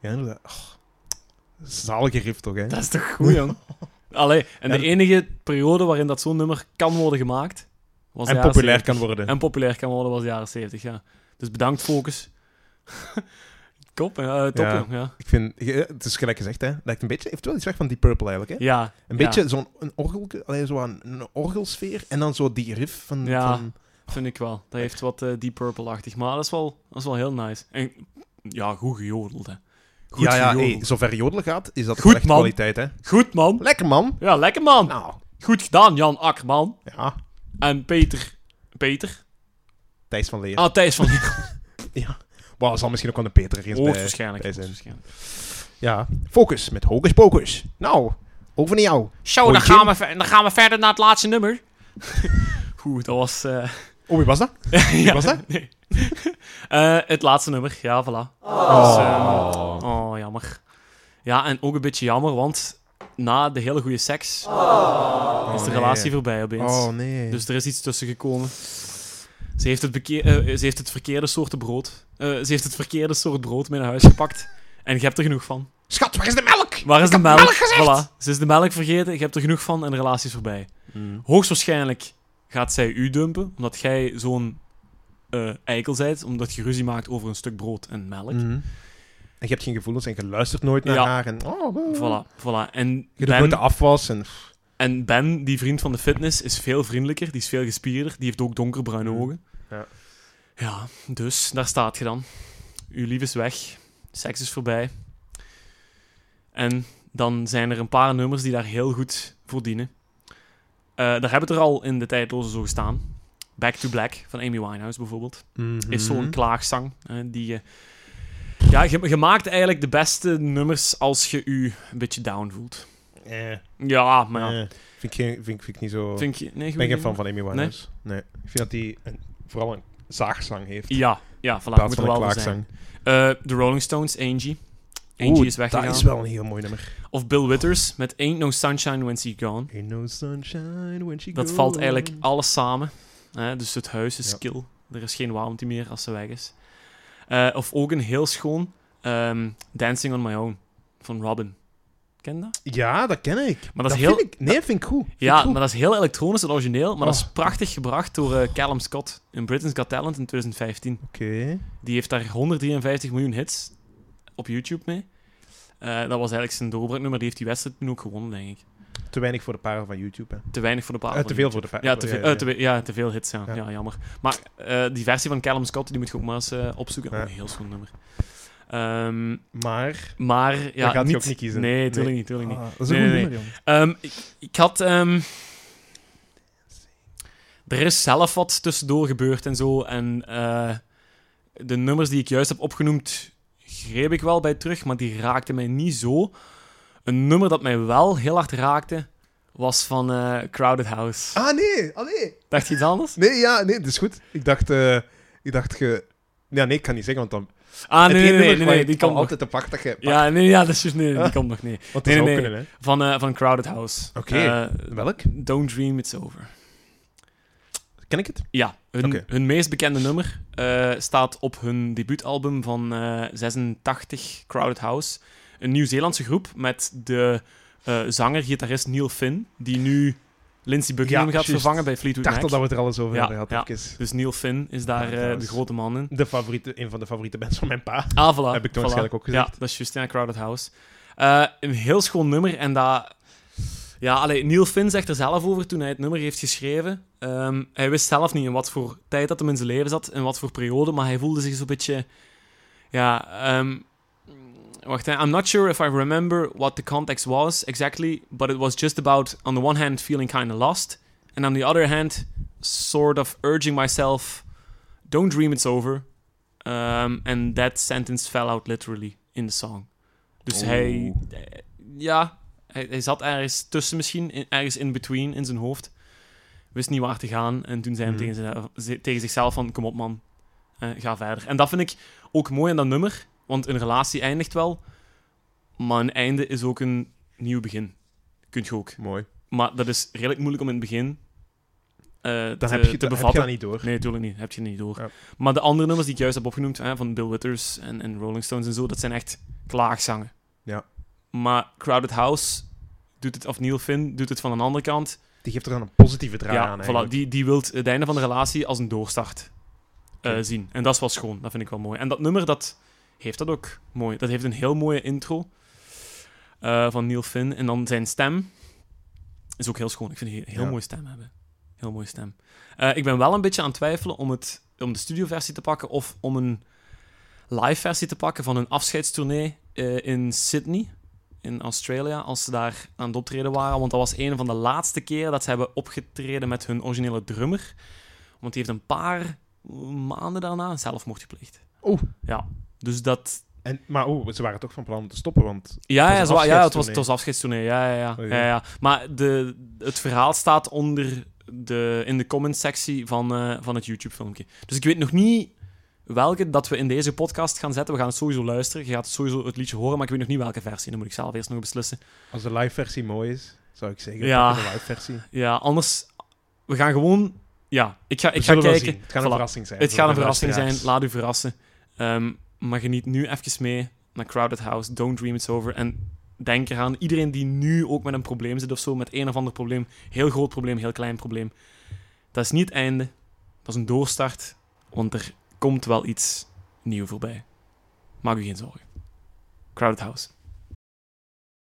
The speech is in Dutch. Ja, inderdaad. Och, zalige riff toch, hè? Dat is toch goed, jong? Allee, en Ja, de dat- enige periode waarin dat zo'n nummer kan worden gemaakt... Was de En jaren populair 70. kan worden. En populair kan worden was de jaren 70, ja. Dus bedankt, Focus. Kop, eh, top, Ja. jong, ja. Ik vind, je- het is gelijk gezegd, hè. Lijkt een beetje, heeft wel iets weg van Deep Purple eigenlijk, hè? Ja, Een ja. beetje zo'n een orgel, allee, zo aan- een orgelsfeer en dan zo die riff van... Ja. van- Vind ik wel. Dat heeft wat eh, Deep Purple-achtig. Maar dat is, wel, dat is wel heel nice. En ja, goed gejodeld, hè. Goed ja, ja hey, gejodeld. zover jodelen gaat, is dat Goed, echt man. kwaliteit, hè? Goed, man. Lekker, man. Ja, lekker, man. Nou, Goed gedaan, Jan Akkerman. ja. En Peter... Peter? Thijs van Leer. Ah, Thijs van Leer. Wauw, er zal misschien ook wel een betere eens bij, Hoogstwaarschijnlijk. bij zijn. hoogstwaarschijnlijk. Ja. Focus met Hocus Pocus. Nou, over naar jou. Zo, Hoi, dan Jim. gaan, we, ver- dan gaan we verder naar het laatste nummer. Oeh, dat was... eh, Oh, wie was dat? ja, was dat? nee. Eh, het laatste nummer, ja, voilà. Dus, eh, oh, jammer. Ja, en ook een beetje jammer, want na de hele goede seks is de Oh, nee. relatie voorbij opeens. Oh, nee. Dus er is iets tussen gekomen. Ze heeft het, beke- eh, ze heeft het verkeerde soort brood. eh, ze heeft het verkeerde soort brood mee naar huis gepakt. En je hebt er genoeg van. Schat, waar is de melk? Waar is de heb melk? melk gezegd! Voilà. Ze is de melk vergeten, je hebt er genoeg van en de relatie is voorbij. Hmm. Hoogstwaarschijnlijk gaat zij u dumpen, omdat jij zo'n eh, eikel zijt, omdat je ruzie maakt over een stuk brood en melk. Mhm. En je hebt geen gevoelens en je luistert nooit naar Ja. haar. En, oh, eh. Voilà, voilà. En Je doet nooit ben, de afwas. En, en ben, die vriend van de fitness, is veel vriendelijker, die is veel gespierder, die heeft ook donkerbruine Mhm. ogen. Ja. Ja, dus daar staat je dan. Uw lief is weg, seks is voorbij. En dan zijn er een paar nummers die daar heel goed voor dienen. Eh, daar hebben we er al in de tijdloze zo gestaan. Back to Black van Amy Winehouse bijvoorbeeld. mhm. Is zo'n klaagzang. eh, die, je- ja, je, je maakt eigenlijk de beste nummers als je je een beetje down voelt. Eh, Ja, maar ja. eh. Vind, ik geen, vind, ik- vind ik niet zo... Vind je, nee, ik ben geen goed fan idee? van Amy Winehouse. Nee. Ik vind dat die een- vooral een zaagzang heeft. Ja, ja, voilà. in plaats Moet er van een wel voor zijn. klaagzang. Eh, De Rolling Stones, Angie. Angie Oeh, is weggegaan. Dat is wel een heel mooi nummer. Of Bill Withers met Ain't No Sunshine When She's Gone. Ain't no sunshine when she Dat goes. valt eigenlijk alles samen. Hè? Dus het huis is Ja. kil. Er is geen warmte meer als ze weg is. Eh, of ook een heel schoon ehm, Dancing on My Own van Robin. Ken je dat? Ja, dat ken ik. Maar Dat, dat is heel, vind ik... Nee, vind ik goed. Vind ik ja, goed. maar dat is heel elektronisch en origineel. Maar dat is Oh. prachtig gebracht door eh, Callum Scott in Britain's Got Talent in 2015. Oké. Die heeft daar 153 miljoen hits op YouTube mee. Eh, dat was eigenlijk zijn doorbraaknummer. Die heeft die wedstrijd toen ook gewonnen, denk ik. Te weinig voor de parel van YouTube, hè. Te weinig Ah, voor de paal. Eh, te veel voor de vijf. Ja, te, veel- eh, te, we- ja, te veel hits, ja. Ja. Ja. jammer. Maar eh, die versie van Callum Scott, die moet je ook maar eens eh, opzoeken. Ja. Oh, een heel schoon nummer. Ehm, Maar... maar, ja, gaat hij niet, ook niet kiezen. Nee, tuurlijk Nee. niet, tuurlijk niet. Ah, dat is Nee, een goed nee, nummer, jong. Ehm, ik, ik had... ehm, er is zelf wat tussendoor gebeurd en zo. En eh, de nummers die ik juist heb opgenoemd, greep ik wel bij terug. Maar die raakten mij niet zo. Een nummer dat mij wel heel hard raakte, was van eh, Crowded House. Ah, nee. Allee. Dacht je iets anders? Nee, ja, nee, dat is goed. Ik dacht... eh, ik dacht... ge- Ja, nee, ik kan niet zeggen, want dan... Ah, Het nee, nee, ene nee, nee, nummer waar nee, ik die komt nog. altijd Ah. te pak dat je... Ja, nee, ja, dat is juist, nee, die Ja. komt nog, nee. Want dat nee, zou nee. kunnen, hè. Van, eh, van Crowded House. Oké. Eh, Welk? Don't Dream It's Over. Ken ik het? Ja, hun, Oké. hun meest bekende nummer eh, staat op hun debuutalbum van eh, 86, Crowded House. Een Nieuw-Zeelandse groep met de eh, zanger, gitarist Neil Finn, die nu Lindsey Buckingham Ja, gaat juist. vervangen bij Ik Fleetwood dacht al Mac. dat we het er alles over Ja, hadden gehad. ja. even. Dus Neil Finn is daar Crowded eh, de House. grote man in. De favoriete, een van de favoriete bands van mijn pa. Ah, voilà. Heb ik toen voilà. waarschijnlijk ook Ja, gezegd. dat is Justina Crowded House. Eh, een heel schoon nummer en dat... Ja, allee, Neil Finn zegt er zelf over toen hij het nummer heeft geschreven. Ehm, hij wist zelf niet in wat voor tijd dat hem in zijn leven zat, in wat voor periode, maar hij voelde zich zo'n beetje... Ja, ehm, wacht, hè. I'm not sure if I remember what the context was exactly, but it was just about, on the one hand, feeling kind of lost, and on the other hand, sort of urging myself, don't dream it's over, Um, and that sentence fell out literally in the song. Dus hij, eh, ja, hij, hij zat ergens tussen misschien, in- ergens in between in zijn hoofd. Wist niet waar te gaan. En toen zei hij Mhm. tegen, zichzelf- ze- tegen zichzelf van, kom op man, eh, ga verder. En dat vind ik ook mooi aan dat nummer, want een relatie eindigt wel, maar een einde is ook een nieuw begin. Kunt je ook. Mooi. Maar dat is redelijk moeilijk om in het begin eh, Dan te, heb je, het- te heb je bevatten. dat niet door. Nee, tuurlijk niet. Heb je niet door. Ja. Maar de andere nummers die ik juist heb opgenoemd, hè, van Bill Withers en, en Rolling Stones en zo, dat zijn echt klaagzangen. Ja. Maar Crowded House doet het, of Neil Finn doet het van een andere kant. Die geeft er dan een positieve draai ja, aan. voilà, eigenlijk. die, die wil het einde van de relatie als een doorstart eh, Oké. zien. En dat is wel schoon, dat vind ik wel mooi. En dat nummer, dat heeft dat ook mooi. Dat heeft een heel mooie intro eh, van Neil Finn. En dan zijn stem is ook heel schoon. Ik vind een heel, heel Ja. mooie stem hebben. Heel mooie stem. Eh, ik ben wel een beetje aan het twijfelen om, het, om de studioversie te pakken of om een live versie te pakken van een afscheidstournee eh, in Sydney, in Australië, als ze daar aan het optreden waren. Want dat was een van de laatste keren dat ze hebben opgetreden met hun originele drummer. Want die heeft een paar maanden daarna zelfmoord gepleegd. Oeh. Ja, dus dat... En, maar oh, ze waren toch van plan om te stoppen, want... Het Ja, was ja, een zo- ja het was, afscheidstournee. het was afscheidstournee. Ja, ja, ja. Oh, ja. ja, ja. Maar de, het verhaal staat onder de, in de comments-sectie van, eh, van het YouTube-filmpje. Dus ik weet nog niet welke dat we in deze podcast gaan zetten. We gaan het sowieso luisteren. Je gaat sowieso het liedje horen, maar ik weet nog niet welke versie. Dan moet ik zelf eerst nog beslissen. Als de live versie mooi is, zou ik zeggen, Ja. pak de live versie. Ja, anders... We gaan gewoon... Ja, ik ga, We ik ga zullen wel kijken. zien. Het gaat een Voilà. verrassing zijn. Het voor gaat de een verrassing zijn, luisteraars. laat u verrassen. Ehm, maar geniet nu even mee naar Crowded House, Don't Dream It's Over. En denk eraan, iedereen die nu ook met een probleem zit of zo, met een of ander probleem, heel groot probleem, heel klein probleem. Dat is niet het einde, dat is een doorstart, want er komt wel iets nieuw voorbij. Maak u geen zorgen. Crowded House.